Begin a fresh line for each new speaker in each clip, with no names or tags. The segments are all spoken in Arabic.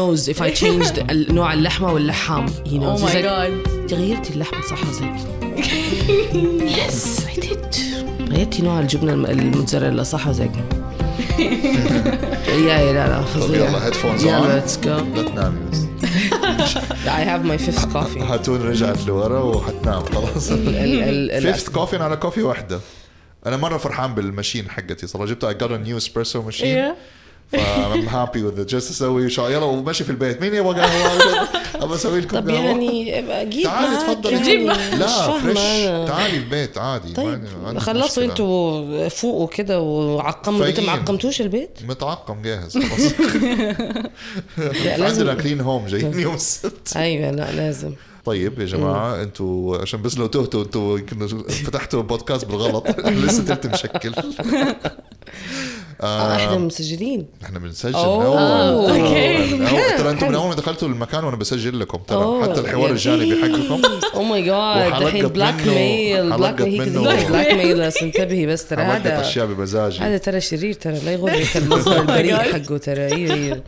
knows if I changed ال- نوع اللحمة واللحام he knows
Oh
He's
my
like,
god.
"أنت غيرتي اللحمة صح وزيك yes I did غيرتي نوع الجبنة الم- الموتزاريلا صح وزيك يا يا لا لا
طب
فظيع
يلا هيدفونز
يلا
اون
let's go
لا تنامي بس
I have my fifth coffee
هاتون رجعت لورا وحتنام خلاص
ال- ال- ال-
فيفث كوفي انا على كوفي واحده انا مره فرحان بالماشين حقتي صراحه جبت اي جوت نيو اسبريسو
إيه.
ماشين
Yeah.
فام هابي وذ جست اسوي شو يلا وماشي في البيت مين يبغى قهوه ابى اسوي لكم
طب
قهوة.
يعني ابقى جيب
تعالي
معاك
تفضلي
يعني.
جيب
مش
لا
فاهمة
فريش
أنا.
تعالي البيت عادي ما عندي- ما
طيب
عندي
خلصتوا
مشكلة.
انتوا فوقوا كده وعقموا البيت
فايقين.
ما عقمتوش البيت؟
متعقم جاهز خلاص
لا
عندنا
لازم
كلين هوم جايين يوم السبت
ايوه لا لازم
طيب يا
إيه.
جماعه انتوا عشان بس لو تهتوا انتوا يمكن فتحتوا بودكاست بالغلط لسه تلت مشكل
آه. احنا مسجلين
احنا بنسجل
أوه.
من اول
آه،
أوكي.
من أول. ترى انتم من
حلو.
اول ما دخلتوا المكان وانا بسجل لكم ترى
أوه،
حتى الحوار
يا
الجانبي حقكم
او ماي جاد
وحلقت
الحين بلاك
منه-
ميل بلاك
حلقت
ميل هي
منه-
بلاك ميل بس انتبهي بس ترى
عملت
هذا
اشياء بمزاجي
هذا ترى شرير ترى لا يغرك المظهر
Oh my
البريء
God.
حقه ترى ايوه ايوه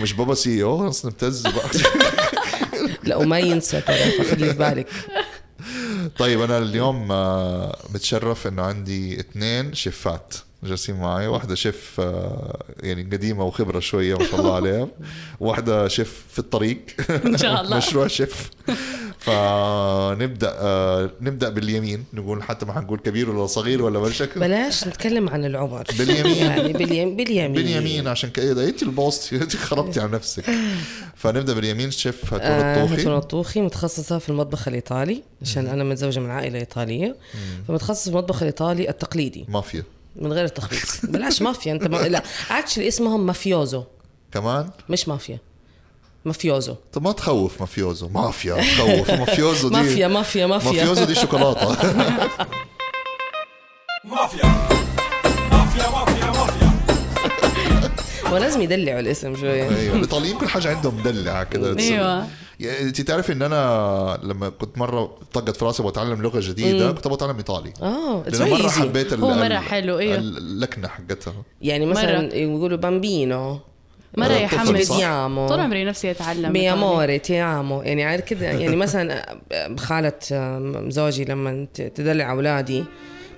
مش بابا سي او اصلا مبتز بقى.
لا وما ينسى ترى فخلي في بالك
طيب انا اليوم آه، متشرف انه عندي اثنين شيفات جالسين معي واحدة شيف آه، يعني قديمة وخبرة شوية ما شاء الله عليها واحدة شيف في الطريق
ان شاء الله
مشروع شيف فنبدا آه، نبدا باليمين نقول حتى ما حنقول كبير ولا صغير ولا ولا شكل
بلاش نتكلم عن العمر
باليمين.
يعني باليمين باليمين
باليمين عشان كده انت البوست انت خربتي على نفسك فنبدا باليمين شيف هاتون
آه، هاتون
الطوخي
الطوخي متخصصة في المطبخ الإيطالي عشان أنا متزوجة من عائلة إيطالية فمتخصصة في المطبخ الإيطالي التقليدي
مافيا
من غير التخبيص بلاش مافيا أنت ما... لا اكشلي اسمهم مافيوزو
كمان
مش مافيا مافيوزو
طب ما تخوف مافيوزو مافيا تخوف مافيوزو دي
مافيا مافيا مافيا
مافيوزو دي شوكولاته
مافيا مافيا مافيا مافيا
ولازم يدلعوا الاسم
أيوة.
شوية
ايوه الايطاليين كل حاجه عندهم مدلعه كده
ايوه
يعني انت تعرف ان انا لما كنت مره طقت في راسي بتعلم لغه جديده كنت بتعلم ايطالي
آه،
اه اتس
لانه مره
ايزي
حبيت ال-
هو مرة
ال-
حلو، أيوه.
ال- اللكنه حقتها
يعني
مرة.
مثلا يقولوا بامبينو
مره
طفل
يحمس
صح؟
طول عمري نفسي اتعلم
مي اموري تي امو يعني عارف كده يعني مثلا خالة آم، زوجي لما ت- تدلع اولادي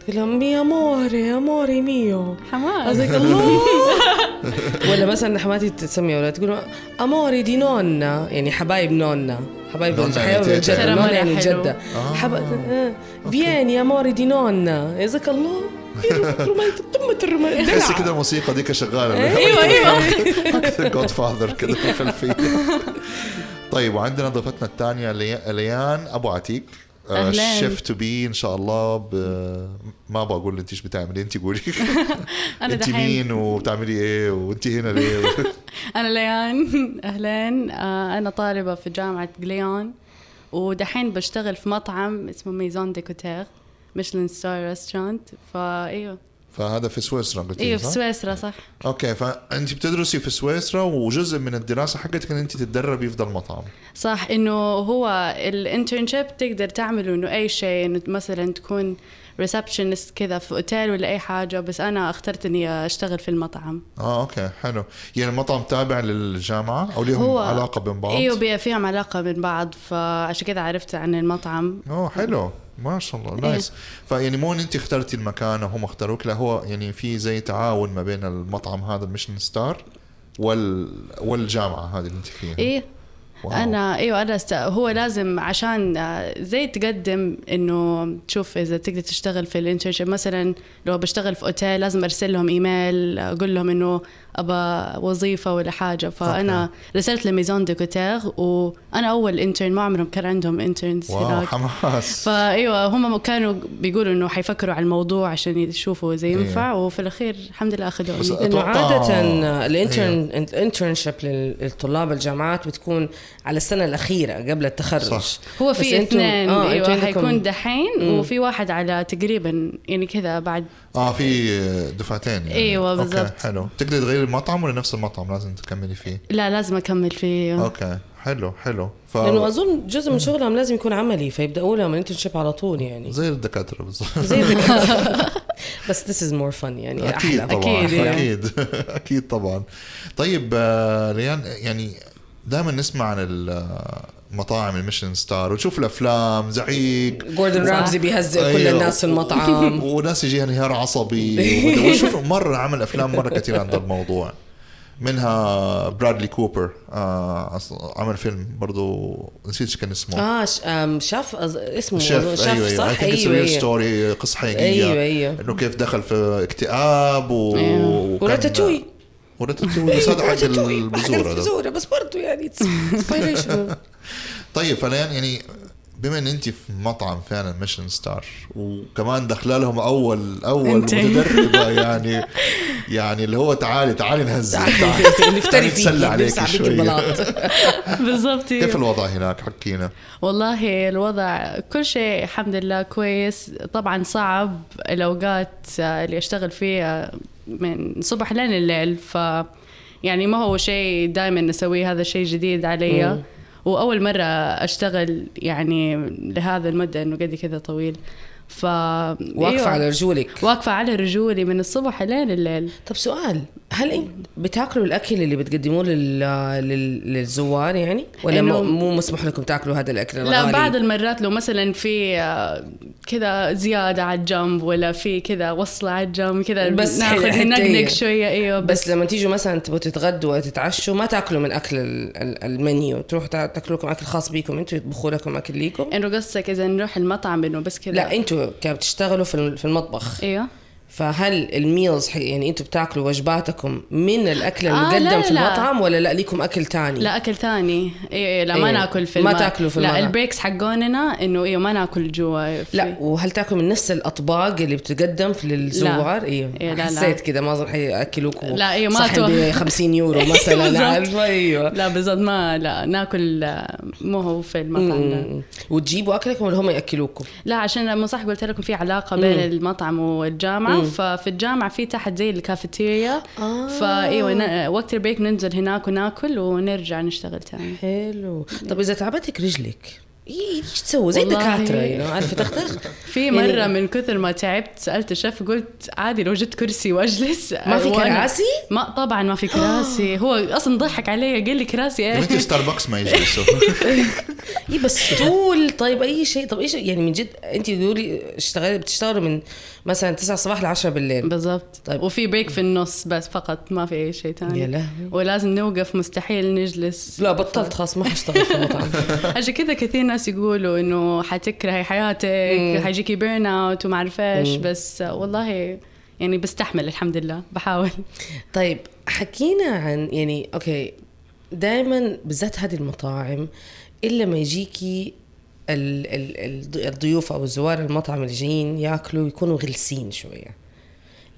تقول لهم مي اموري اموري ميو
حماس
قصدك الله ولا مثلا حماتي تسمي اولاد تقول اموري دي نونا يعني حبايب نونا حبايب
نونا
الجد-
يعني
حبايب
تيتا.
الجد
ترى
نونا
مرة
يعني
حلو.
الجدة
آه.
حب... آه. فيني اموري دي نونا يزك الله يا رومانتك قمة الرومانتك
تحس
دلع.
كده الموسيقى ديك شغاله
أيوة،
ايوه ايوه
جود فاذر كده في الخلفيه طيب وعندنا ضيفتنا الثانيه لي- ليان ابو عتيق آه،
أهلاً.
شيف تو بي ان شاء الله ب... ما ابغى اقول انت ايش بتعملي انت قولي
انا
انت
دحين
مين وبتعملي ايه وانت هنا ليه
انا ليان اهلين آه، انا طالبه في جامعه جليون ودحين بشتغل في مطعم اسمه ميزون ديكوتير ميشلان ستار ريستورانت فايوه
فهذا في سويسرا قلت
ايوه
لي
في
صح؟
سويسرا صح
اوكي فانت بتدرسي في سويسرا وجزء من الدراسه حقتك ان انت تتدربي في ذا المطعم
صح انه هو الانترنشيب تقدر تعمله انه اي شيء انه مثلا تكون ريسبشنست كذا في اوتيل ولا اي حاجه بس انا اخترت اني اشتغل في المطعم
اه اوكي حلو يعني المطعم تابع للجامعه او لهم
هو
علاقه بين بعض
ايوه بي- فيهم علاقه من بعض فعشان كذا عرفت عن المطعم
اوه حلو ما شاء
إيه.
الله نايس فيعني مو ان انت اخترتي المكان هم اختاروك لا هو يعني في زي تعاون ما بين المطعم هذا الميشن ستار وال والجامعه هذه اللي انت فيها
ايه
واو.
انا ايوه انا است... هو لازم عشان آه، زي تقدم انه تشوف اذا تقدر تشتغل في الانترنشيب مثلا لو بشتغل في اوتيل لازم ارسل لهم ايميل اقول لهم انه ابى وظيفه ولا حاجه فانا
أوكي.
رسلت لميزون ديكوتير وانا اول انترن ما عمرهم كان عندهم انترنز
واو
هناك
حماس
فايوه هم كانوا بيقولوا انه حيفكروا على الموضوع عشان يشوفوا اذا ينفع وفي الاخير الحمد لله
إيه. بس-
اخذوني
لانه
أتوقع- أيوه.
عاده الانترن الانترنشيب للطلاب الجامعات بتكون على السنه الاخيره قبل التخرج
صح.
هو في اثنين
آه
ايوه
أنتوا
حيكون
عندكم-
دحين وفي واحد على تقريبا يعني كذا بعد
اه في دفعتين يعني.
أيوة،
أوكي،
بالضبط.
حلو تقدري تغيري المطعم ولا نفس المطعم لازم تكملي فيه
لا لازم اكمل فيه
اوكي حلو حلو ف
لانه اظن جزء من شغلهم لازم يكون عملي فيبداوا لها من انترنشيب على طول يعني
زي الدكاتره بالضبط
زي الدكاترة. بس this is more fun يعني
اكيد
احلى
طبعا
إيه، أكيد، يعني.
اكيد اكيد طبعا طيب آه، ريان يعني دائما نسمع عن المطاعم الميشن ستار ونشوف الافلام زعيق
جوردن
صح.
رامزي بيهزئ كل
أيوه.
الناس في المطعم
وناس يجيها انهيار عصبي وشوف مره عمل افلام مره كثير عن ذا الموضوع منها برادلي كوبر آه أص- عمل فيلم برضو نسيت ايش كان اسمه
اه ش- آم، شاف أظ- اسمه شاف
شاف
صح ايوه
ايوه ايوه اي ريل
ايوه
ستوري قصه حقيقيه
ايوه ايوه
انه كيف دخل في اكتئاب و
أيوة.
أيوه.
وكان-
وراتاتوي
وراتاتوي بس هذا حق
راتاتوي، حق
البزور هذا
البزورة بس برضه يعني it's inspirational.
طيب فلان يعني بما ان انت في مطعم فعلا ميشن ستار وكمان داخله لهم اول اول
أنت.
متدربه يعني يعني اللي هو تعالي تعالي نهزك تعالي
نفتري فيك
نتسلى عليك
نمسح بيك
شوي
أيوه.
البلاط
بالضبط إيوه.
كيف الوضع هناك حكينا
والله الوضع كل شيء الحمد لله كويس طبعا صعب الأوقات آه، اللي أشتغل فيها من صبح لين الليل ف يعني ما هو شيء دائما نسويه هذا شيء جديد علي وأول مرة أشتغل يعني لهذا المدة إنه قد كذا طويل ف
واقفه
أيوة.
على رجولك
واقفة على رجولي من الصبح لين الليل
طب سؤال هل انت بتاكلوا الاكل اللي بتقدموه لل... لل... للزوار يعني ولا
إنه-
مو مو مسموح لكم تاكلوا هذا الاكل
لا
الغالي
بعض المرات لو مثلا في آه، كذا زياده على الجنب ولا في كذا وصله على الجنب كذا
بس
بس
حل-
ناخذ
حتى هي.
ننقنق شويه ايوه بس,
بس لما تيجوا مثلا تبغوا تتغدوا وتتعشوا ما تاكلوا من اكل ال- ال- المنيو تروحوا تا- تاكلوا لكم اكل خاص بيكم انتوا يطبخوا لكم اكل ليكم
انه قصدك اذا نروح المطعم انه بس كذا
لا إيه. انتوا كان بتشتغلوا في الم- في المطبخ
ايوه
فهل الميلز حق- يعني انتوا بتاكلوا وجباتكم من الاكل
آه،
المقدم
لا،
في
لا.
المطعم ولا لا ليكم اكل تاني
لا اكل ثاني ايوه إيه لا
إيوه.
ما ناكل في
ما
الم-
تاكلوا في
لا
المطعم.
البريكس حقوننا انه ايوه ما ناكل جوا في-
لا وهل تاكلوا من نفس الاطباق اللي بتقدم في للزوار؟ ايوه
إيه، لا، لا.
حسيت كذا ما اظن حياكلوك
لا، إيه، ما تو-
صحن ب 50 يورو
إيه،
مثلا
بالظبط.
عارفه ايوه
لا بالضبط ما لا ناكل آه، مو هو في المطعم لا.
مم. وتجيبوا اكلكم ولا هم ياكلوكم؟
لا عشان لما صح قلت لكم في علاقه بين
مم.
المطعم والجامعه
مم.
ففي الجامعه في تحت زي الكافيتيريا
آه.
فايوه ن- وقت البريك ننزل هناك وناكل ونرجع نشتغل تاني
حلو طب اذا تعبتك رجلك إيه، ايش تسوي زي
والله.
الدكاتره يعني عارفه تختخ
في
يعني-
مره من كثر ما تعبت سالت الشيف قلت عادي لو جبت كرسي واجلس
ما في
وأنا-
كراسي؟ آه.
ما طبعا ما في كراسي هو اصلا ضحك علي قال لي كراسي
يا
ايه
بنتي ستاربكس يعني ما يجلسوا
اي إيه، بس طول طيب اي شيء طب ايش يعني من جد انت تقولي اشتغل بتشتغلوا من مثلا 9 الصباح ل 10 بالليل
بالضبط
طيب.
طيب. وفي بريك في النص بس فقط ما في اي شيء
يا
ثاني
لهوي
ولازم نوقف مستحيل نجلس
لا بطلت خلاص ما حاشتغل في المطعم
عشان كذا كثير ناس يقولوا انه حتكرهي حياتك حيجيكي بيرن اوت وما اعرف ايش بس والله يعني بستحمل الحمد لله بحاول
طيب حكينا عن يعني اوكي دائما بالذات هذه المطاعم الا ما يجيكي ال- ال- ال- الضيوف او الزوار المطعم اللي جايين ياكلوا يكونوا غلسين شويه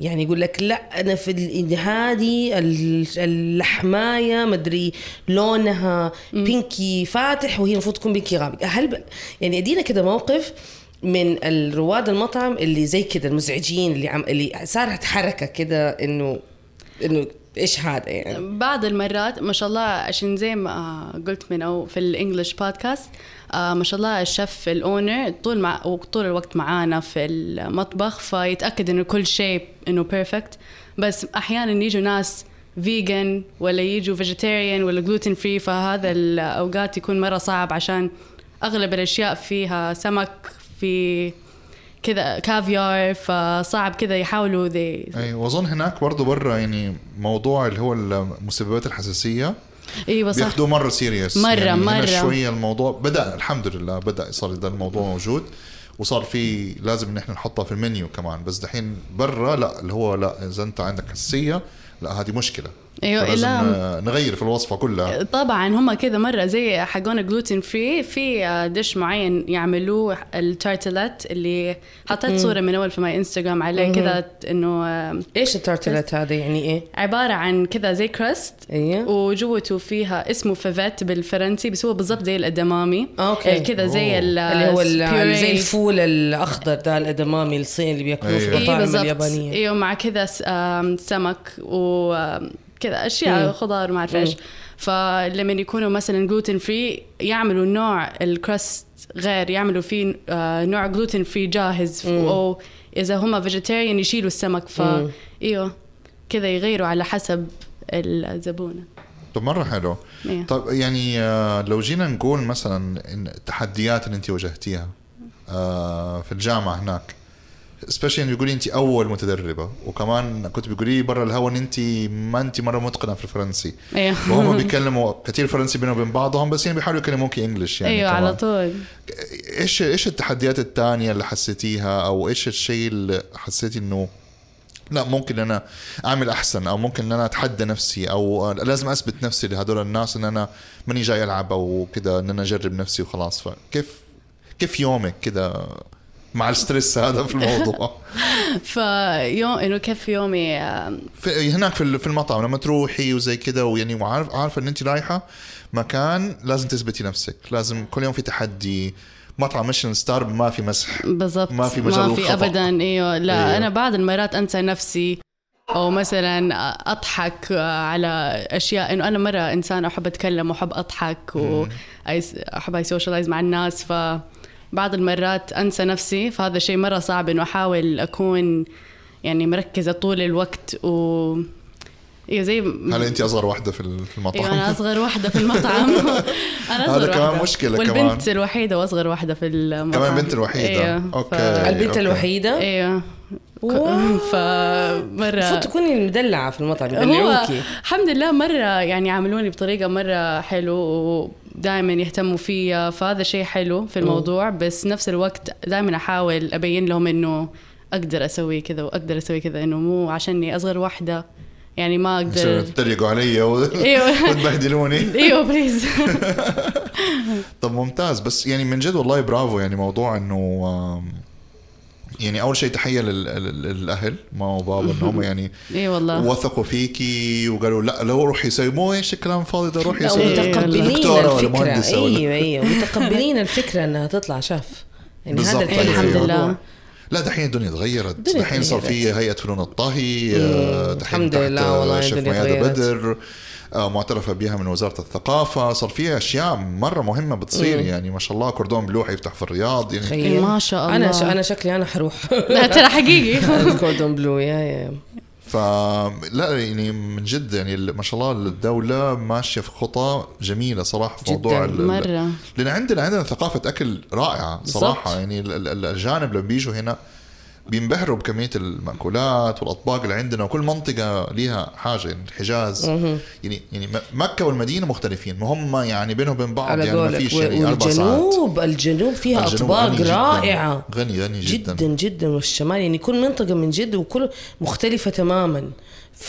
يعني يقول لك لا انا في ال- هذه ال- اللحمايه مدري لونها بينكي فاتح وهي المفروض تكون بينكي غامق هل ب... يعني ادينا كده موقف من الرواد المطعم اللي زي كده المزعجين اللي عم... اللي صارت حركه كده انه انه ايش هذا يعني
بعض المرات ما شاء الله عشان زي ما قلت من او في الانجليش بودكاست آه، ما شاء الله الشيف الاونر طول مع طول الوقت معانا في المطبخ فيتاكد انه كل شيء انه بيرفكت بس احيانا يجوا ناس فيجن ولا يجوا فيجيتيريان ولا جلوتين فري فهذا الاوقات يكون مره صعب عشان اغلب الاشياء فيها سمك في كذا كافيار فصعب كذا يحاولوا ذي
ايوه واظن هناك برضو برا يعني موضوع اللي هو المسببات الحساسيه
ايوه صح
بياخدوه مره سيريس
مرة-
يعني هنا
مرة.
شويه الموضوع بدا الحمد لله بدا صار ده الموضوع موجود وصار في لازم ان احنا نحطها في المنيو كمان بس دحين برا لا اللي هو لا اذا انت عندك حساسيه لا هذه مشكله
أيوة،
فلازم
إلا-
آه، نغير في الوصفه كلها
طبعا هم كذا مره زي حقون جلوتين فري في آه، دش معين يعملوه التارتلات اللي حطيت صوره من اول في ماي انستغرام عليه كذا انه آه،
ايش التارتلت هذا يعني ايه؟
عباره عن كذا زي كراست
ايوه
وجوته فيها اسمه فيفيت بالفرنسي بس هو بالضبط زي الادمامي
أوكي.
آه، كذا زي ال-
اللي هو ال-
البيوريه.
زي الفول الاخضر ده الادمامي الصيني اللي بياكلوه في
أيوة.
إيه
المطاعم
بالضبط
اليابانيه
ايوه مع كذا س- آم، سمك و آم، كذا اشياء
مم.
خضار ما اعرف ايش فلما يكونوا مثلا جلوتين فري يعملوا نوع الكراست غير يعملوا فيه آه، نوع جلوتين فري جاهز او اذا هم فيجيتيريان يشيلوا السمك ف
مم.
ايوه كذا يغيروا على حسب الزبونه
طب مره حلو
إيه.
طب يعني آه، لو جينا نقول مثلا إن التحديات اللي انت واجهتيها آه، في الجامعه هناك سبيشلي انه بيقولي انت اول متدربه وكمان كنت بيقولي برا الهوا ان انت ما انت مره متقنه في الفرنسي
ايوه
وهم بيتكلموا كثير فرنسي بينهم وبين بعضهم بس يعني بيحاولوا يكلموك انجلش يعني
ايوه
كمان.
على طول
ايش ايش التحديات الثانيه اللي حسيتيها او ايش الشيء اللي حسيتي انه لا ممكن انا اعمل احسن او ممكن ان انا اتحدى نفسي او لازم اثبت نفسي لهدول الناس ان انا ماني جاي العب او كده ان انا اجرب نفسي وخلاص فكيف كيف يومك كده مع الستريس هذا في الموضوع
فيوم انه كيف يومي آه،
في هناك في ال- في المطعم لما تروحي وزي كده ويعني وعارف عارفه ان انت رايحه مكان لازم تثبتي نفسك لازم كل يوم في تحدي مطعم ميشن ستار ما في مسح
بالضبط
ما في مجال
ما في
للخطأ.
ابدا ايوه لا
أيوة.
ايوه. انا بعض المرات انسى نفسي او مثلا اضحك على اشياء انه انا مره انسان احب اتكلم واحب اضحك واحب اي سوشيالايز مع الناس ف بعض المرات انسى نفسي فهذا شيء مره صعب انه احاول اكون يعني مركزه طول الوقت و ايوه زي
هل انت اصغر واحده في ال- في المطعم
ايوه انا اصغر واحده في المطعم انا اصغر
هذا كمان
واحدة.
مشكلة كمان.
والبنت الوحيده واصغر واحده في المطعم
كمان بنت الوحيدة.
ايوه
أوكي.
ف-
البنت
أيوة، أوكي.
الوحيده
ايوه
واو. المفروض
فمره
تكوني المدلعه في المطعم
هو
يدلعوكي
الحمد لله مره يعني عاملوني بطريقه مره حلو ودائما يهتموا فيا فهذا شيء حلو في الموضوع بس نفس الوقت دائما احاول ابين لهم انه اقدر اسوي كذا واقدر اسوي كذا انه مو عشاني اصغر واحده يعني ما
عشان
اقدر
تتريقوا علي و-
ايوه.
وتبهدلوني
ايوه بليز
طب ممتاز بس يعني من جد والله برافو يعني موضوع انه آم، يعني اول شيء تحيه لل- لل- للاهل ماما وبابا ان هم يعني
اي والله
وثقوا فيكي وقالوا لا لو روح يسوي ايش الكلام الفاضي ده روح
لا،
يسوي
ومتقبلين
دكتوره ولا
الفكره
مهندسه ولا
ايوه ايوه متقبلين الفكره انها تطلع شف يعني
بالضبط،
هذا الحلو
أيوة.
في
الحمد
الموضوع.
لله.
لا دحين الدنيا تغيرت
الدنيا
دحين صار في
تغيرت.
هيئه فنون الطهي آه،
مم.
دحين
الحمد
تحت،
لله
آه،
والله
شيف
الدنيا
ميادة
تغيرت.
بدر آه، معترفه بها من وزاره الثقافه صار في اشياء مره مهمه بتصير يعني ما شاء الله كردون بلوحي يفتح في الرياض يعني
تخيل.
ما شاء الله.
انا ش... انا شكلي انا حروح
لا ترى حقيقي
الكوردون بلو يا يا
ف لا يعني من جد يعني ال- ما شاء الله الدوله ماشيه في خطى جميله صراحه في
جداً،
موضوع ال- ال-
مره
لان عندنا عندنا ثقافه اكل رائعه صراحه
بالضبط.
يعني ال- ال- الاجانب لما بيجوا هنا بينبهروا بكميه المأكولات والاطباق اللي عندنا وكل منطقه ليها حاجه يعني الحجاز يعني يعني م- مكه والمدينه مختلفين وهم يعني بينهم وبين بعض
على
يعني ما فيش
قولك
يعني اربع ساعات
والجنوب الجنوب فيها
الجنوب غني
اطباق
جداً،
رائعه
غني غني جدا,
جدا جدا والشمال يعني كل منطقه من جد وكل مختلفه تماما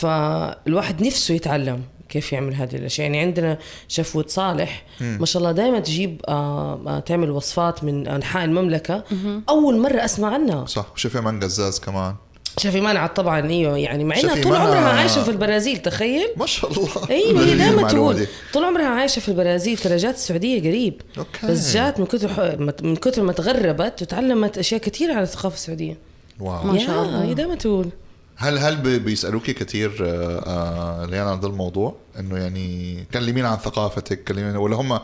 فالواحد نفسه يتعلم كيف يعمل هذه الاشياء يعني عندنا شفوة صالح ما شاء الله دائما تجيب آه آه، تعمل وصفات من انحاء المملكه اول مره اسمع عنها
صح وشوف ايمان قزاز كمان
شفي منعت طبعا ايوه يعني مع انها
شفي
طول
منعت-
عمرها عايشه في البرازيل تخيل
ما شاء الله
ايوه
غريبة
هي دائما
آه. المعلومة
تقول
دي.
طول عمرها عايشه في البرازيل ترى جات السعوديه قريب
أوكي.
بس جات من كثر ح- من كثر ما تغربت وتعلمت اشياء كثيره على الثقافه السعوديه
واو
ما شاء
يا،
الله.
هي دائما تقول
هل هل بي- بيسالوكي كثير آه، ليان عن هذا الموضوع انه يعني كلمينا عن ثقافتك كلمينا ولا هم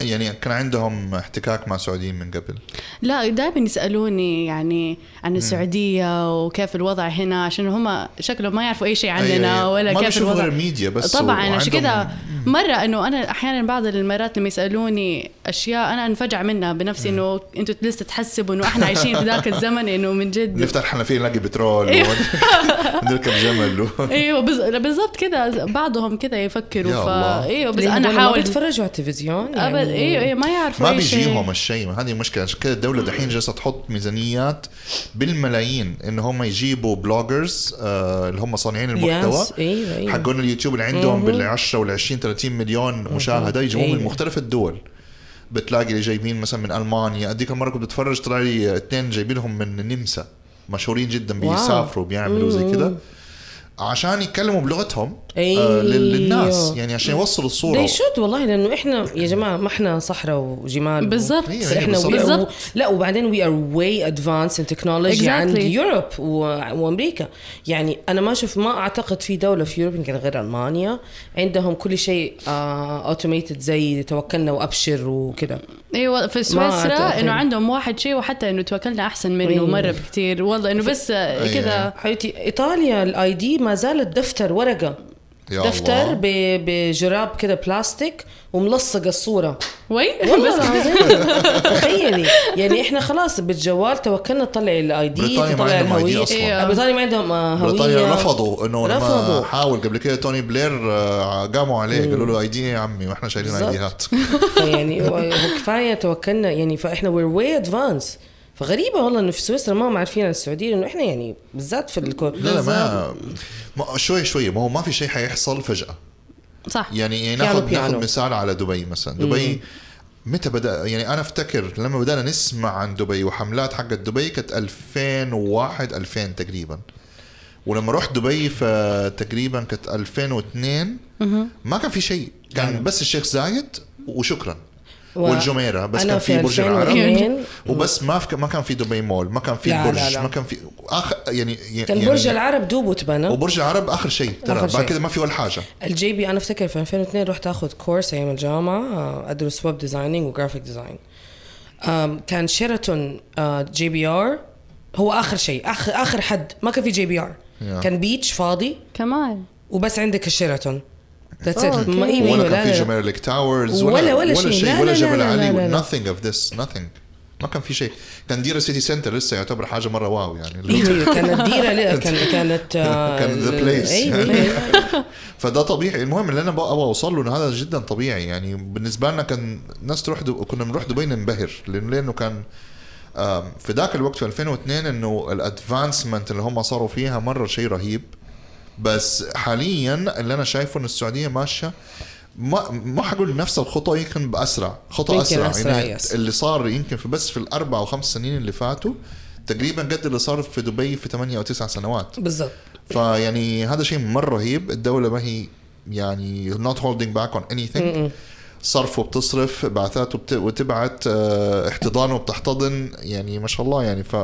يعني كان عندهم احتكاك مع سعوديين من قبل
لا دائما يسالوني يعني عن السعوديه وكيف الوضع هنا عشان هم شكلهم ما يعرفوا اي شيء عننا
أي-
ولا
ما
كيف
بيشوفوا غير
الوضع
الميديا بس
طبعا عشان
وعندهم-
كذا مره انه انا احيانا بعض المرات لما يسالوني اشياء انا انفجع منها بنفسي انه انتم لسه تحسبوا انه احنا عايشين في ذاك الزمن انه من جد
نفتح حنفيه نلاقي بترول
أيوة.
وما- نركب جمل و...
ايوه بز- بالضبط كذا بعضهم كذا يفكروا
يا
ف
الله.
ايوه بس
ليه
انا
هذول ما
احاول
بيتفرجوا على التلفزيون يعني
ابد ايوه ايوه ما يعرفوا
ما
أي شيء.
بيجيهم الشيء هذه مشكله عشان كذا الدوله دحين جالسه تحط ميزانيات بالملايين ان هم يجيبوا بلوجرز آه اللي هم صانعين المحتوى
يس، أيوة، أيوة.
حقون اليوتيوب اللي عندهم بال 10 وال 20 30 مليون مشاهده يجيبوهم من
أيوة.
مختلف الدول بتلاقي اللي جايبين مثلا من المانيا اديك المره كنت بتفرج طلع لي اثنين جايبينهم من النمسا مشهورين جدا
واو.
بيسافروا بيعملوا زي كذا عشان يتكلموا بلغتهم آه
أيوه.
لل- للناس يعني عشان يوصلوا الصوره
دي شود والله لانه احنا يا جماعه ما احنا صحراء وجمال و-
بالضبط
أيوة، أيوة،
احنا
بالضبط.
we are-
بالضبط.
لا وبعدين وي ار واي ادفانس ان تكنولوجي عند
Exactly.
يوروب وامريكا يعني انا ما اشوف ما اعتقد في دوله في يوروب يمكن غير المانيا عندهم كل شيء اوتوميتد زي توكلنا وابشر وكذا
ايوه في سويسرا
أعتقد.
انه عندهم واحد شيء وحتى انه توكلنا احسن منه
أيوة.
مره بكثير والله انه بس
أيوة.
كذا
حبيبتي ايطاليا الاي دي ما زالت دفتر ورقه
يا
دفتر
الله.
ب- بجراب كده بلاستيك وملصقه الصوره
وي
والله
بس
العظيم تخيلي يعني احنا خلاص بالجوال توكلنا نطلع الاي دي
بريطانيا ما
تطلع
عندهم
الهويه
ID أصلاً.
آه، بريطانيا ما عندهم آه، هويه
بريطانيا رفضوا انه لما
رفضوا.
حاول قبل كده توني بلير آه، قاموا عليه قالوا له اي دي يا عمي واحنا شايلين
بالظبط.
ايديهات
يعني كفايه توكلنا يعني فاحنا وير واي ادفانس فغريبه والله انه في سويسرا ما هم عارفين عن السعوديه لانه احنا يعني بالذات في الكو...
لا لا ما, ما شوي شوي ما هو ما في شيء حيحصل فجاه
صح
يعني يعني
بيانو
ناخذ ناخذ
بيانو.
مثال على دبي مثلا دبي متى بدا يعني انا افتكر لما بدانا نسمع عن دبي وحملات حقت دبي كانت 2001 2000 تقريبا ولما رحت دبي فتقريبا كانت 2002 ما كان في شيء كان بس الشيخ زايد وشكرا
أيوه. و-
والجميره بس
أنا
كان
في
في برج
2002
العرب وبس ما في ما كان في دبي مول ما كان في
لا، لا،
برج
لا.
ما كان في اخر يعني
كان برج العرب دوب وتبنى
وبرج العرب اخر شيء
آخر
ترى بعد
شيء.
كده ما في ولا حاجه
الجي بي انا افتكر في 2002 رحت اخذ كورس ايام الجامعه آه، ادرس ويب ديزايننج وجرافيك ديزاين آم، كان شيراتون آه، جي بي ار هو اخر شيء اخر اخر حد ما كان في جي بي ار
Yeah.
كان بيتش فاضي
كمان وبس
وبس عندك الشيراتون ذاتس ات
أوكي.
ما إيه، أيوة،
ولا Oh, كان
لا،
في
لا.
جمال ليك تاورز
ولا- ولا شيء.
ولا
لا،
شيء
لا،
ولا
لا،
جبل
لا، لا، لا،
علي
لا.
nothing of this nothing ما كان في شيء كان ديرا سيتي سنتر لسه يعتبر حاجه مره واو يعني اللي هو-
ايوه أيوة، كانت ديره لا، كان كانت آه،
كان ذا بليس
ايوه أيوة.
فده طبيعي المهم اللي انا بقى ابغى اوصل له انه هذا جدا طبيعي يعني بالنسبه لنا كان ناس تروح دب... كنا بنروح دبي ننبهر لانه لانه كان آم، في ذاك الوقت في 2002 انه الادفانسمنت اللي هم صاروا فيها مره شيء رهيب بس حاليا اللي انا شايفه ان السعوديه ماشيه ما ما حقول نفس الخطى يمكن باسرع خطى
يمكن
اسرع,
أسرع،
يعني
يس.
اللي صار يمكن في بس في الاربع او خمس سنين اللي فاتوا تقريبا قد اللي صار في دبي في 8 او 9 سنوات
بالضبط
فيعني هذا شيء مره رهيب الدوله ما هي يعني not holding back on anything صرفه بتصرف بعثاته بت... وتبعت آه، احتضانه بتحتضن يعني ما شاء الله يعني ف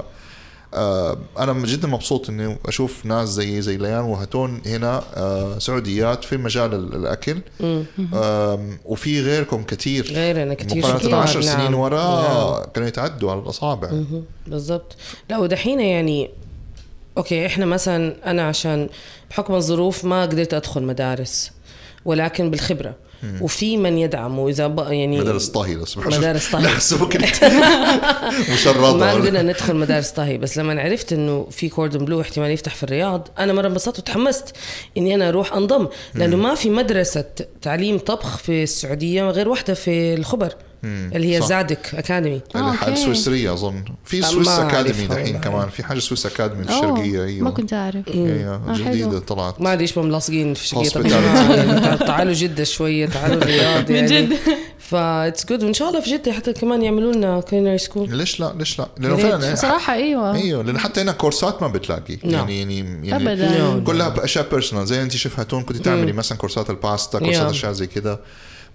آه، انا جدا مبسوط اني اشوف ناس زي زي ليان وهتون هنا آه، سعوديات في مجال ال- الاكل آم، وفي غيركم كثير
غيرنا كتير
مقارنه
كتير،
10
نعم.
سنين ورا
نعم.
كانوا يتعدوا على الاصابع
بالضبط لا ودحين يعني اوكي احنا مثلا انا عشان بحكم الظروف ما قدرت ادخل مدارس ولكن بالخبره وفي من يدعم واذا بقى يعني
مدارس طهي لو سمحت
مدارس طهي.
لا حسبك إنت مشرده
ما قدرنا ندخل مدارس طهي بس لما عرفت انه في كوردون بلو احتمال يفتح في الرياض انا مره انبسطت وتحمست اني انا اروح انضم لانه ما في مدرسه تعليم طبخ في السعوديه غير واحده في الخبر اللي هي
صح.
زادك اكاديمي
اللي
آه،
حق
أوكي.
سويسريه اظن في
ما
سويس
أعرفها
اكاديمي
والله.
دحين كمان في حاجه سويس اكاديمي في
أوه،
الشرقيه ايوه
ما كنت اعرف
ايوه
آه، حلو.
جديده طلعت
ما ادري ايش بهم ملاصقين في شقيقه
Hospitality.
الجماعة. تعالوا جده شويه تعالوا الرياض
من
يعني
جد.
فا اتس جود وان شاء الله في جده حتى كمان يعملوا لنا كولينري سكول
ليش لا ليش لا لانه
يا
فعلا
ريت.
صراحه ايوه
ايوه لان حتى هنا كورسات ما بتلاقي
نعم.
يعني يعني يعني
ابدا
كلها باشياء بيرسونال زي انت شوف هاتون كنت تعملي مثلا كورسات الباستا كورسات
Yeah.
اشياء زي كده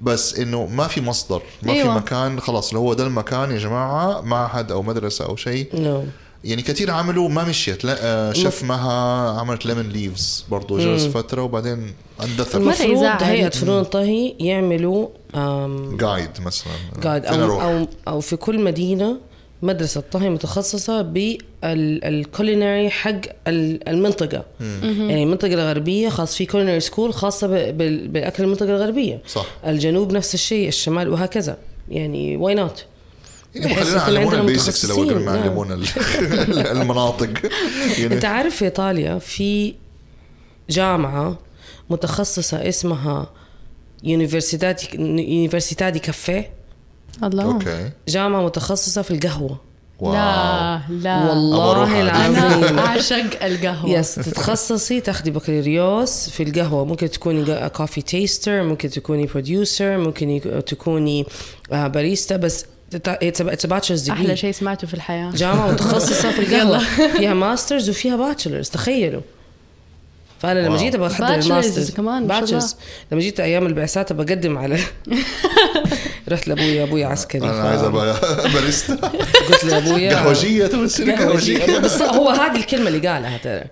بس انه ما في مصدر ما
أيوة.
في مكان خلاص اللي هو ده المكان يا جماعه معهد او مدرسه او شيء
نو
يعني كثير عملوا ما مشيت لا آه، شيف مها عملت ليمون ليفز برضه جلس فتره وبعدين اندثر
المس-
المفروض
يزعل.
هيئه فنون الطهي يعملوا آم،
جايد مثلا
قاعد
فين
او
أروح؟
او او في كل مدينه مدرسه طهي متخصصه بالكولينري حق ال- المنطقه يعني المنطقه الغربيه خاص في كولينري سكول خاصه ب- بال- بالاكل المنطقه الغربيه
صح.
الجنوب نفس الشيء الشمال وهكذا يعني واي نوت
يعني
بحيث
خلينا
يكون
علمونا
عندنا
البيسكس الاول قبل ما
متخصصين،
علمونا ال- المناطق
انت
يعني
عارف في ايطاليا في جامعه متخصصه اسمها يونيفرسيتاتي يونيفرسيتاتي كافيه
الله
اوكي
جامعه متخصصه في القهوه
واو
لا لا
أبغى أروح
والله
على-
العظيم
انا اعشق القهوه
يس تتخصصي تاخدي بكالوريوس في القهوة ممكن تكوني كوفي تيستر ممكن تكوني بروديوسر ممكن يك- تكوني آه، باريستا بس اتس باتشلرز
احلى
ديجري
شيء سمعته في الحياه
جامعة متخصصة في القهوة فيها ماسترز وفيها باتشلرز تخيلوا فانا لما
واو.
جيت بحضر
Bachelors
الماسترز
كمان، ما شاء
باتشلرز لما جيت ايام البعثات بقدم على رحت لابويا ابويا عسكري
انا
يعني ف-
عايز ابقى باريستا
قلت لابويا
قهوجيه تبغى تصير قهوجيه
بس هو هذه الكلمه اللي قالها ترى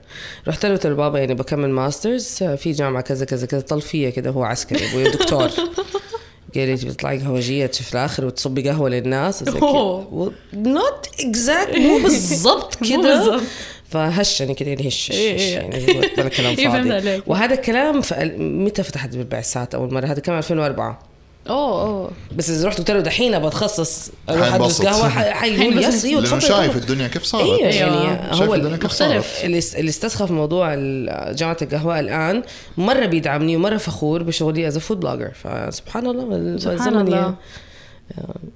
رحت له قلت له بابا يعني بكمل ماسترز في جامعه كذا كذا كذا طلفيه كذا هو عسكري ابوي دكتور قال لي تبي تطلعي قهوجيه تشوف الاخر وتصبي قهوه للناس
أوه.
نوت اكزاكت مو بالضبط
مو
كذا
بالضبط.
فهشني كده يعني هش هش-
إيه،
هش
إيه.
يعني هو بلا كلام
إيه، فهمت
فاضي
عليك.
وهذا الكلام في ال- متى فتحت بالبعثات اول مره هذا كان 2004
اوه اوه
بس اذا رحت قلت له دحين ابغى اتخصص اروح ادرس
حينبسط.
قهوه ح- حيقول
حينبسط.
يس ايوه
لانه
تفضل
شايف
تفضل.
الدنيا كيف صارت
ايوه
أيوه.
يعني
شايف
هو
الدنيا
ال-
كيف
مختلف.
صارت
اللي است- اللي استسخف موضوع ال- جامعه القهوه الان مره بيدعمني ومره فخور بشغلي از فود بلوجر فسبحان الله ال-
سبحان
الزمن
الله.
يا-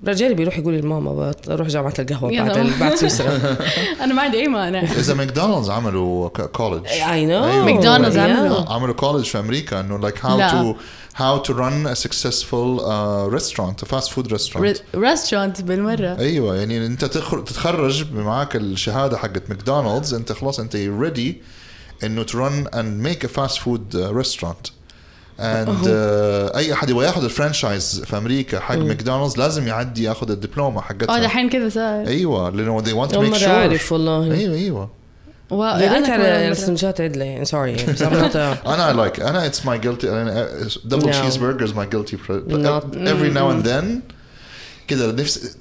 رجالي بيروح يقول لماما بط- اروح جامعه القهوه
يا
بعد
ماما.
ال- بعد سويسرا
انا ما عندي اي مانع
اذا ماكدونالدز عملوا كولج
اي نو
أيوة.
ماكدونالدز عملوا.
يعني عملوا كولج في امريكا انه لايك هاو
لا.
تو هاو تو رن سكسسفول ريستورانت فاست فود ريستورانت
ريستورانت بالمره
ايوه يعني انت تخر- تتخرج معاك الشهاده حقت ماكدونالدز انت خلاص انت ريدي انه ترن اند ميك ا فاست فود ريستورانت اند اي احد uh, يبغى ياخذ الفرانشايز في امريكا حق ماكدونالدز لازم يعدي ياخذ الدبلومه
اه
حقتها
دحين كذا صار
ايوه لانه they want to
اول
make
مره
sure
اعرف والله
ايوه ايوه
و-
لقيت
أنا
على
كمان مرة.
السنجات عدله يعني سوري بس I'm not uh, a-
انا لايك انا اتس ماي جيلتي دبل
No.
تشيزبرجر از ماي جيلتي
Not- Mm.
every now and then كده نفس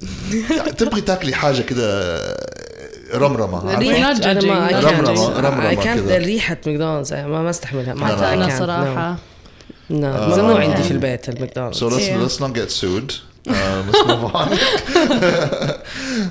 تبغي تاكلي حاجه كده رمرمه عارفة؟
We're not
ريحة- أنا ما- I
judging.
can't-
رمرمة- رمرمة
I can't-
كده.
ريحه ماكدونالدز ما ما استحملها ما نعم.
لا، لا،
I
انا
can't.
صراحه
No. No. ممنوع عندي في البيت الماكدونالدز
So let's
Yeah.
let's not get sued. Uh, let's move on.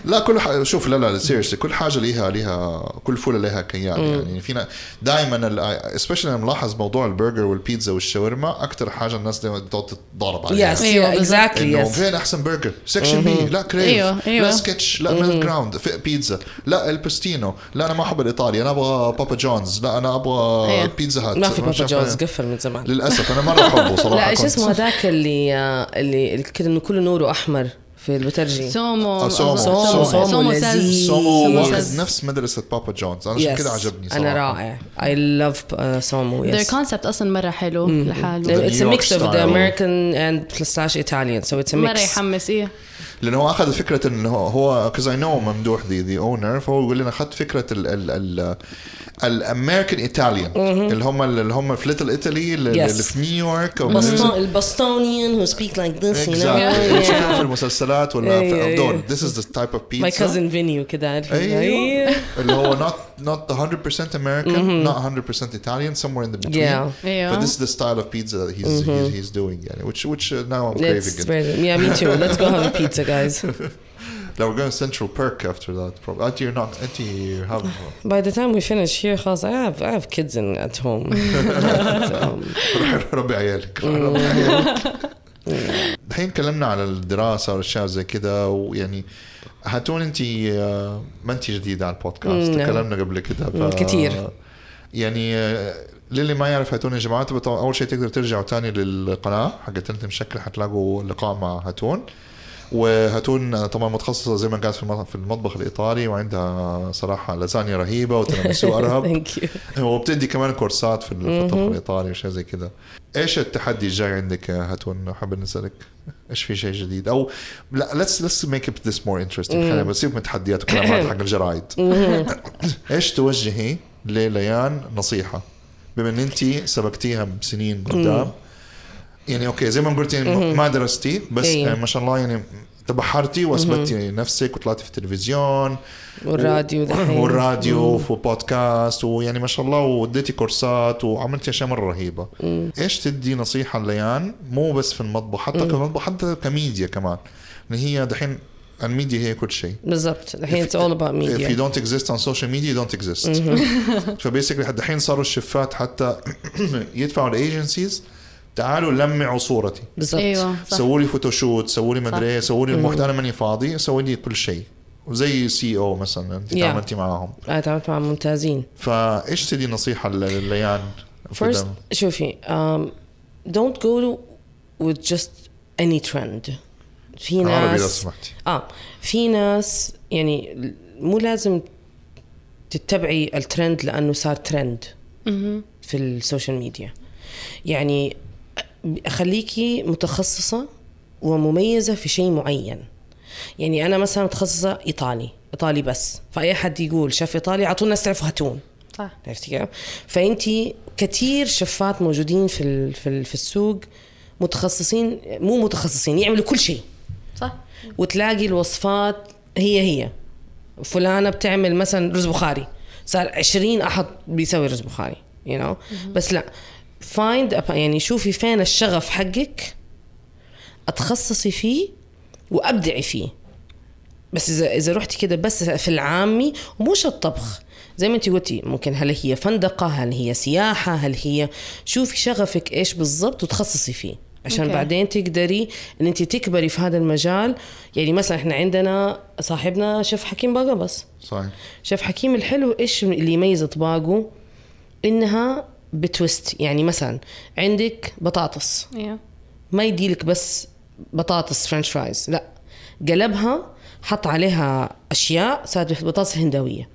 لا كل ح... شوف لا لا سيريسلي كل حاجه ليها ليها كل فوله لها كيان يعني فينا دائما سبيشلي ملاحظ موضوع البرجر والبيتزا والشاورما اكثر حاجه الناس دائما تقعد تتضارب عليها
يس
أيوة، بالضبط.
اكزاكتلي
انه
يس
فين احسن برجر؟ سكشن بي لا كريف
أيوه،
أيوة، أيوة.
لا سكتش لا ميل جراوند في بيتزا لا البستينو لا انا ما احب الايطالي انا ابغى بابا جونز لا انا ابغى
أيوة.
بيتزا هات
أيوه. ما في بابا
مش عارف
جونز
أنا-
قفل من زمان
للاسف انا مره احبه صراحه
لا ايش
كنت-
اسمه هذاك اللي آه، اللي اللي كده انه كله نوره احمر في البترجي
سومو
آه، سومو. سومو.
سومو
سومو
سومو
لذيذ.
ساز
سومو
سومو
واخذ
ساز
نفس مدرسة بابا جونز أنا عشان
Yes.
كده عجبني صراحة
انا رائع اي لاف سومو
their
يس
concept اصلا مره حلو
Mm.
لحاله
It's a
York
mix of the
style.
American and slash Italian so it's a
مره
mix
يحمس ايه
لأنه هو أخذ فكرة إنه هو- هو كز أي نو ممدوح ذا ذا أونر فهو يقول لي أنا أخذت فكرة ال ال ال الأمريكان إيطاليان اللي هم اللي هم في ليتل إيطالي اللي
Yes.
اللي في نيويورك
Boston- البostonian who speak like this you know
Mm-hmm. Exactly. تشوفهم في المسلسلات ولا
أيوة،
في
أيوة.
دول this is the type of
my
pizza
cousin Vinny وكده عارف
أيوه اللي هو not not the 100% American not 100% Italian somewhere in the between
Yeah.
أيوة.
but this is the style of pizza that he's he's, he's doing يعني which which uh, now I'm
Let's
craving it
yeah me too let's go have a pizza guys
Now we're going to Central Perk after that. Probably. Until you're not. Until you have.
By the time we finish here, خلاص, I have I have kids in at home. so,
روح ربي عيالك. روح ربي عيالك. الحين تكلمنا على الدراسة والأشياء زي كذا ويعني هاتون أنت آه، ما أنت جديدة على البودكاست
نعم.
تكلمنا قبل كذا
مم، كتير.
يعني آه، للي ما يعرف هاتون يا جماعة طبعاً أول شيء تقدر ترجعوا تاني للقناة حقت أنت مشكل حتلاقوا لقاء مع هاتون وهاتون طبعا متخصصه زي ما قالت في المط- في المطبخ الايطالي وعندها صراحه لازانيا رهيبه وتيراميسو ارهب
thank you.
وبتدي كمان كورسات في الطبخ الايطالي وشيء زي كذا ايش التحدي الجاي عندك يا هاتون حابب نسالك ايش في شيء جديد او لا ليتس ليتس ميك اب ذس مور انترستنج خلينا بنسيب من التحديات وكلامات حق الجرايد ايش توجهي لليان نصيحه بما ان انت سبقتيها بسنين قدام يعني اوكي زي ما قلتي يعني ما درستي بس
إيه.
آه، ما شاء الله يعني تبحرتي واثبتي نفسك وطلعتي في التلفزيون
والراديو دحين.
آه، والراديو وبودكاست ويعني ما شاء الله وديتي كورسات وعملتي اشياء مره رهيبه ايش تدي نصيحه ليان مو بس في المطبخ حتى في المطبخ حتى كميديا كمان ان هي دحين الميديا هي كل شيء
بالضبط الحين it's all about
If you
media.
don't exist on social media you don't exist فبيسكلي حتى الحين صاروا الشفات حتى يدفعوا الايجنسيز تعالوا لمعوا صورتي
بالضبط
ايوه صح
سووا لي فوتوشوت سووا لي مدري إيه، سووا لي المحتوى انا ماني فاضي سووا لي كل شيء وزي سي او مثلا انت
Yeah.
تعاملتي معاهم
أنا تعاملت آه، مع ممتازين.
فايش تدي نصيحه لل- لليان في
First
ده؟
شوفي um, don't go with just any trend. في
عربي لو
ناس
سمحتي
اه في ناس يعني
Mm-hmm.
مو لازم تتبعي الترند لانه صار ترند في السوشيال ميديا يعني اخليكي متخصصه ومميزه في شيء معين يعني انا مثلا متخصصه ايطالي ايطالي بس فاي حد يقول شاف ايطالي على طول الناس تعرف هاتون
صح
عرفتي كيف؟ فانت كثير شفات موجودين في ال- في ال- في السوق متخصصين مو متخصصين يعملوا كل شيء
صح
وتلاقي الوصفات هي هي فلانه بتعمل مثلا رز بخاري صار 20 احد بيسوي رز بخاري يو you know? بس لا فايند يعني شوفي فين الشغف حقك اتخصصي فيه وابدعي فيه بس اذا اذا رحتي كده بس في العامي ومو شرط طبخ زي ما انت قلتي ممكن هل هي فندقه هل هي سياحه هل هي شوفي شغفك ايش بالضبط وتخصصي فيه عشان
أوكي.
okay. بعدين تقدري ان انت تكبري في هذا المجال يعني مثلا احنا عندنا صاحبنا شيف حكيم باقة بس
صحيح
شيف حكيم الحلو ايش اللي يميز اطباقه انها بتويست يعني مثلا عندك بطاطس
ايوه
ما يديلك بس بطاطس فرنش فرايز لا قلبها حط عليها اشياء صارت بطاطس هندويه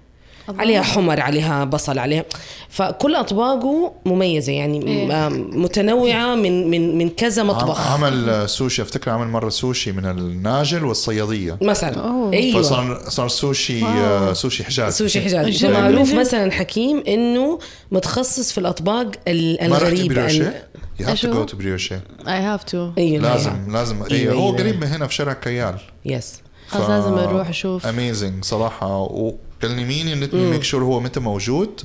الله.
عليها حمر عليها بصل عليها فكل اطباقه مميزه يعني
إيه.
آم، متنوعه من من من كذا مطبخ
عمل آه، سوشي افتكر عمل مره سوشي من الناجل والصياديه
مثلا
أوه.
ايوه
فصار صار سوشي
واو.
آه، سوشي حجاز
سوشي حجازي
جميل.
معروف
جميل.
مثلا حكيم انه متخصص في الاطباق ال-
ما رحت
الغريبه ال-
بريوشي؟ يو هاف تو جو
أشو؟
تو بريوشي
اي هاف تو
ايوه
لازم لازم ايوه هو
أيوة.
قريب من هنا في شارع كيال
يس
خلاص لازم اروح اشوف
اميزنج صراحه وكلميني ليت مي ميك شور هو متى موجود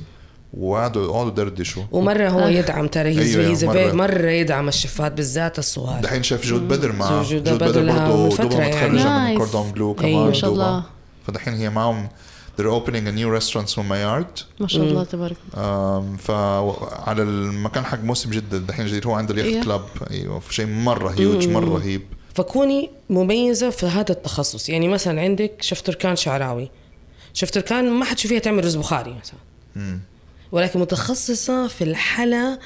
وقعدوا اقعدوا دردشوا
ومره هو
آه.
يدعم ترى هيز
أيوة،
هيز
مرة.
مره يدعم الشفات بالذات الصغار
دحين شاف جود بدر مع
زوج
جود
جود
بدر
بدر لها من
برضه
فترة
دوبها
يعني.
متخرجه من
Nice. إيه،
كوردون بلو كمان
أيوة. ما
شاء
دوبها.
الله.
فدحين هي معهم they're opening a new restaurant from my yard
ما شاء الله
Mm.
تبارك
أم، فعلى المكان حق موسم جدا دحين جديد هو عنده اليخت
Yeah.
كلاب ايوه شيء مره هيوج مره رهيب
فكوني مميزة في هذا التخصص يعني مثلا عندك شفت تركان شعراوي شفت تركان ما حتشوفيها تعمل رز بخاري مثلا ولكن متخصصة في الحلا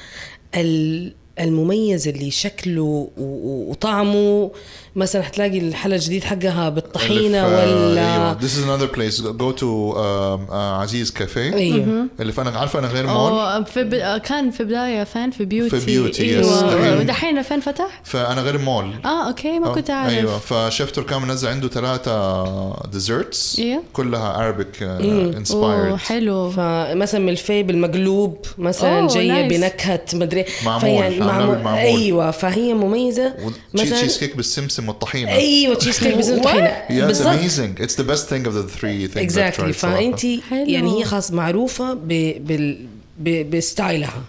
ال- المميز اللي شكله و- و- وطعمه مثلا حتلاقي الحلا الجديد حقها بالطحينة
اللي في-
ولا
أيوة. this is another place go to um, uh, عزيز كافيه
ايوه
اللي في انا عارفه انا غير مول
إيه. أوه، في ب... كان في بدايه فين في بيوتي
في بيوتي، يس.
ايوه
دحين-
ودحين فين فتح؟
فانا غير مول
اه اوكي ما كنت اعرف
ايوه فشيف تركان منزل عنده ثلاثه ديزرتس
إيه.
كلها آه، عربك
اوه Oh,
انسبايرد
حلو
فمثلا ملفي بالمقلوب مثلا
أوه،
جايه
nice.
بنكهه مدري
معمول،
فيعني
عاملة
معمول-
بالمعمول.
ايوه فهي مميزه
تشيز كيك بالسمسم والطحينه
إيه،
ايوه تشيز كيك بزيت طحينه
Yeah, it's
بالضبط
amazing. It's the best thing of the three things I've
اكزاक्टلي
tried صراحة.
فانت
حلو.
يعني هي خلاص معروفه ب... بال... ب... بستايلها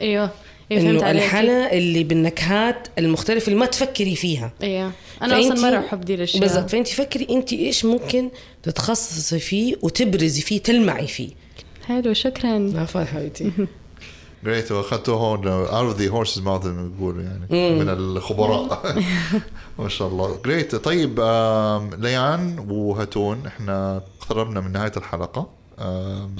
ايوه ايوه فهمت
انه
عليك
الحلا اللي بالنكهات المختلفه اللي ما تفكري فيها
ايوه انا اصلا
فأنتي-
مره احب دي الاشياء
بالضبط فانت فكري انت ايش ممكن تتخصصي فيه وتبرزي فيه تلمعي فيه
حلو شكرا
عفوا حبيبتي
جريت واخذته هون اوت اوف ذا هورسز ماوث بيقولوا يعني من الخبراء ما شاء الله جريت طيب آم، ليان وهاتون احنا قربنا من نهايه الحلقه آم،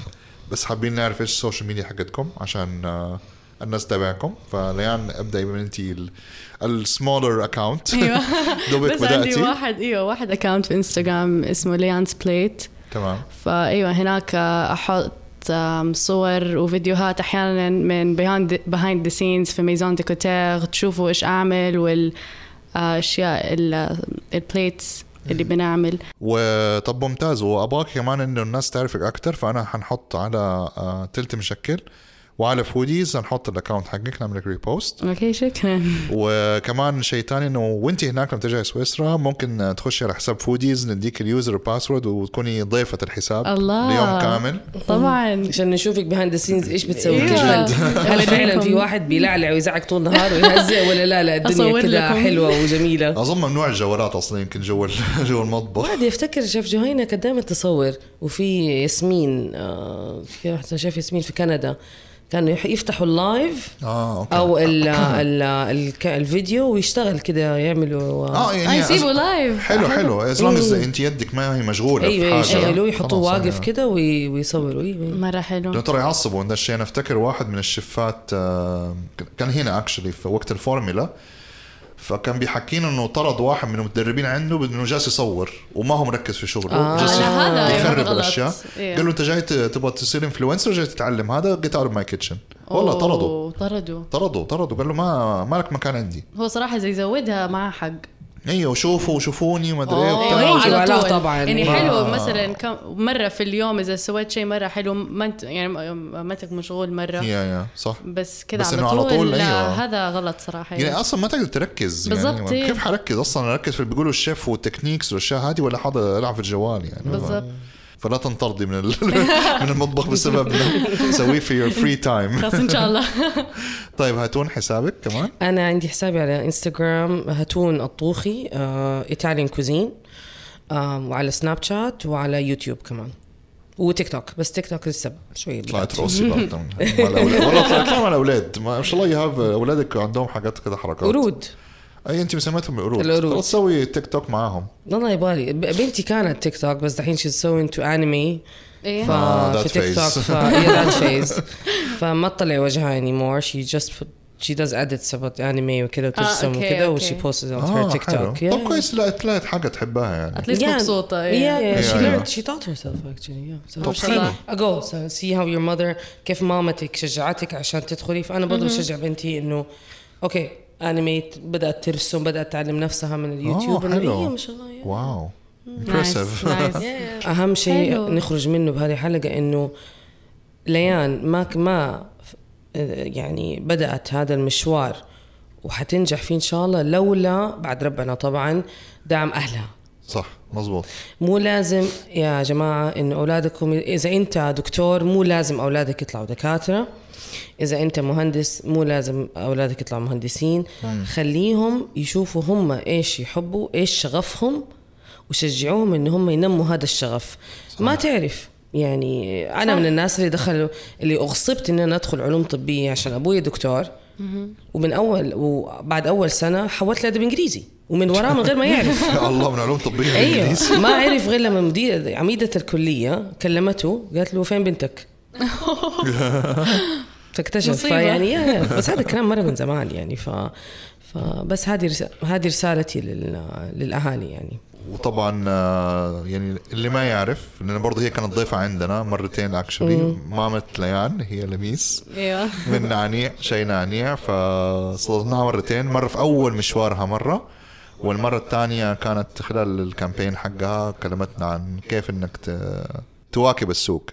بس حابين نعرف ايش السوشيال ميديا حقتكم عشان آه، الناس تتابعكم فليان ابداي من انت السمولر اكونت
ايوه
دوبك
بس عندي
بداتي
واحد ايوه واحد اكونت في انستغرام اسمه ليانس بليت
تمام
فايوه هناك احط آم، صور وفيديوهات احيانا من بيهايند ذا سينز في ميزون ديكوتير تشوفوا ايش اعمل آه، والاشياء البليتس اللي بنعمل
وطب ممتاز وابغاك كمان انه الناس تعرفك اكثر فانا حنحط على آه، تلت مشكل وعلى فوديز هنحط الاكونت حقك نعمل لك ريبوست
اوكي شكرا
وكمان شيء ثاني انه وانت هناك لما ترجعي سويسرا ممكن آه، تخشي على حساب فوديز نديك اليوزر باسورد وتكوني ضيفه الحساب
الله.
ليوم كامل
طبعا
عشان نشوفك بهاند سينز ايش بتسوي
إيوه.
كل جد. هل فعلا
أوريكم.
في واحد بيلعلع ويزعق طول النهار ويهزئ ولا لا لا الدنيا
أصور
كده
لكم.
حلوه وجميله
اظن ممنوع الجوالات اصلا يمكن جوا ال- جوا المطبخ
عادي افتكر شيف جهينة كانت دائما تصور وفي ياسمين آه، في واحدة شيف ياسمين في كندا كانوا يح- يفتحوا اللايف
اه اوكي
او ال ال ال الفيديو ويشتغل كده يعملوا آه،
اه
آه،
يعني
يسيبوا
أز-
لايف
حلو حلو از لونج از
إيه.
انت يدك ما هي مشغوله في
ايوه
حاجه
يشغلوه يحطوه
خلاص، آه.
واقف
أنا-
كده وي- ويصوروا ايوه
مره حلو
لانه ترى يعصبوا من الشيء انا افتكر واحد من الشفات آه، كان هنا اكشلي في وقت الفورميلا فكان بيحكينا انه طرد واحد من المتدربين عنده انه جالس يصور وما هو مركز في شغله
آه.
جالس
على
هذا
يخرب
غلط.
الاشياء
إيه.
قال له انت جاي ت- تبغى تصير انفلونسر جاي تتعلم هذا جيت اوت ماي كيتشن والله طرده
أوه، طردوا
طرده طرده قال له ما مالك مكان عندي
هو صراحة زي زودها معاه حق
ايوه شوفوا شوفوني وما ادري ايه
أوه،
ما
وبتاع.
يجي
آه، على
ولا
طول.
طبعاً.
يعني
ما-
حلو
آه.
مثلا كم مرة في اليوم إذا سويت شيء مرة حلو ما انت يعني ما- ما انت مشغول مرة
يا يا صح
بس كذا
بس
على
إنه على
طول,
طول،
لا
أيوة.
هذا غلط صراحة
أيوة.
يعني اصلا ما تقدر تركز
بالضبط،
يعني
إيه.
كيف حركز اصلا اركز في اللي بيقولوا الشيف والتكنيكس والاشياء هذه ولا حاضر العب في الجوال يعني
بالضبط
فلا تنطردي من ال- من المطبخ بسبب إنه سويه في يور فري تايم
خلاص إن شاء الله
طيب هاتون حسابك كمان
انا عندي حسابي على انستغرام هتون الطوخي ايطاليان كوزين آه، وعلى سناب شات وعلى يوتيوب كمان وتيك توك بس تيك توك لسه شوي بدأت.
طلعت راسي برضه مع الأولاد. والله طيب، طلعت مع الاولاد ما ما شاء الله يهاب اولادك عندهم حاجات كده حركات
قرود
اي انت مسميتهم القرود
القرود.
خلاص سوي تيك توك معاهم
والله يبالي ب- بنتي كانت تيك توك بس دحين شي تسوي انتو انمي
إيه.
ف
آه، that
في تيك توك
phase.
ف ذات فيز فما تطلع وجهها anymore she just put she does edits about anime وكذا وترسم
أوكي،
وكذا و
أوكي.
she posts it on her
اه حلو
TikTok yeah.
طب كويس لا طلعت حاجه تحبها يعني
أتليست
Yeah.
مبسوطة
Yeah, yeah, she
Yeah,
learned.
yeah.
She taught herself actually. Yeah. So
طب
see-
حلو.
I go. So see how your mother كيف مامتك شجعتك عشان تدخلي فأنا برضه بشجع بنتي إنه أوكي انيميت بدأت ترسم بدأت تعلم نفسها من اليوتيوب إنه
Ah، حلو.
إيه ما شاء الله yeah.
واو
نايس
impressive
نايس
أهم
حلو.
شيء نخرج منه بهذه الحلقة إنه ليان ما ما يعني بدأت هذا المشوار وحتنجح فيه إن شاء الله لولا بعد ربنا طبعا دعم أهلها
صح مزبوط
مو لازم يا جماعة إن أولادكم إذا أنت دكتور مو لازم أولادك يطلعوا دكاترة إذا أنت مهندس مو لازم أولادك يطلعوا مهندسين خليهم يشوفوا هم إيش يحبوا إيش شغفهم وشجعوهم إن هم ينموا هذا الشغف ما تعرف يعني أنا
صح.
من الناس اللي دخلوا اللي أغصبت إن أنا أدخل علوم طبية عشان أبوي دكتور ومن أول وبعد أول سنة حولت لأدب إنجليزي ومن وراه من غير ما يعرف
يا الله من علوم طبيه
ايوه
بالإنجليزي.
ما عرف غير لما مدير عميده الكليه كلمته قالت له فين بنتك؟ فاكتشف
مصيبة.
فيعني يا- يا. بس هذا الكلام مره من زمان يعني ف فبس هذه رس... هذه رسالتي لل... للاهالي يعني
وطبعا آه، يعني اللي ما يعرف لان برضه هي كانت ضيفه عندنا مرتين اكشلي مامة ليان هي لميس
ايوه
من نعنيع شيء نعنيع فصادفناها مرتين مره في اول مشوارها مره والمره الثانيه كانت خلال الكامبين حقها كلمتنا عن كيف انك ت- تواكب السوق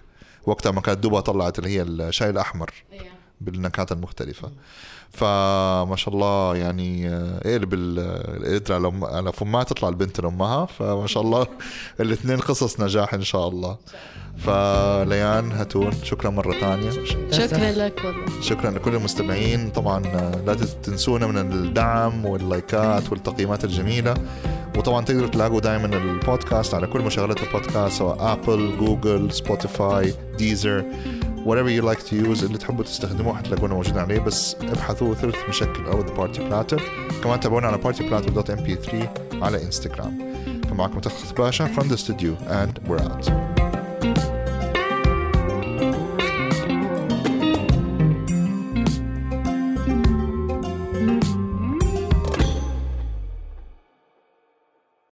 وقتها ما كانت دوبها طلعت اللي هي الشاي الاحمر بالنكهات المختلفه فما شاء الله يعني آه، اقلب ال- القدرة على أم- على فمها تطلع البنت لامها فما شاء الله الاثنين قصص نجاح ان شاء الله فليان هاتون شكرا مره ثانيه
شكرا لك والله
شكرا لكل المستمعين طبعا آه، لا تنسونا من الدعم واللايكات والتقييمات الجميله وطبعا تقدروا تلاقوا دائما البودكاست على كل مشغلات البودكاست سواء ابل جوجل سبوتيفاي ديزر whatever you like to use اللي تحبوا تستخدموه حتلاقونا موجودين عليه بس ابحثوا ثلث مشكل او ذا بارتي بلاتر كمان تابعونا على partyplatter.mp3 على انستغرام فمعكم تخت باشا from the studio and we're out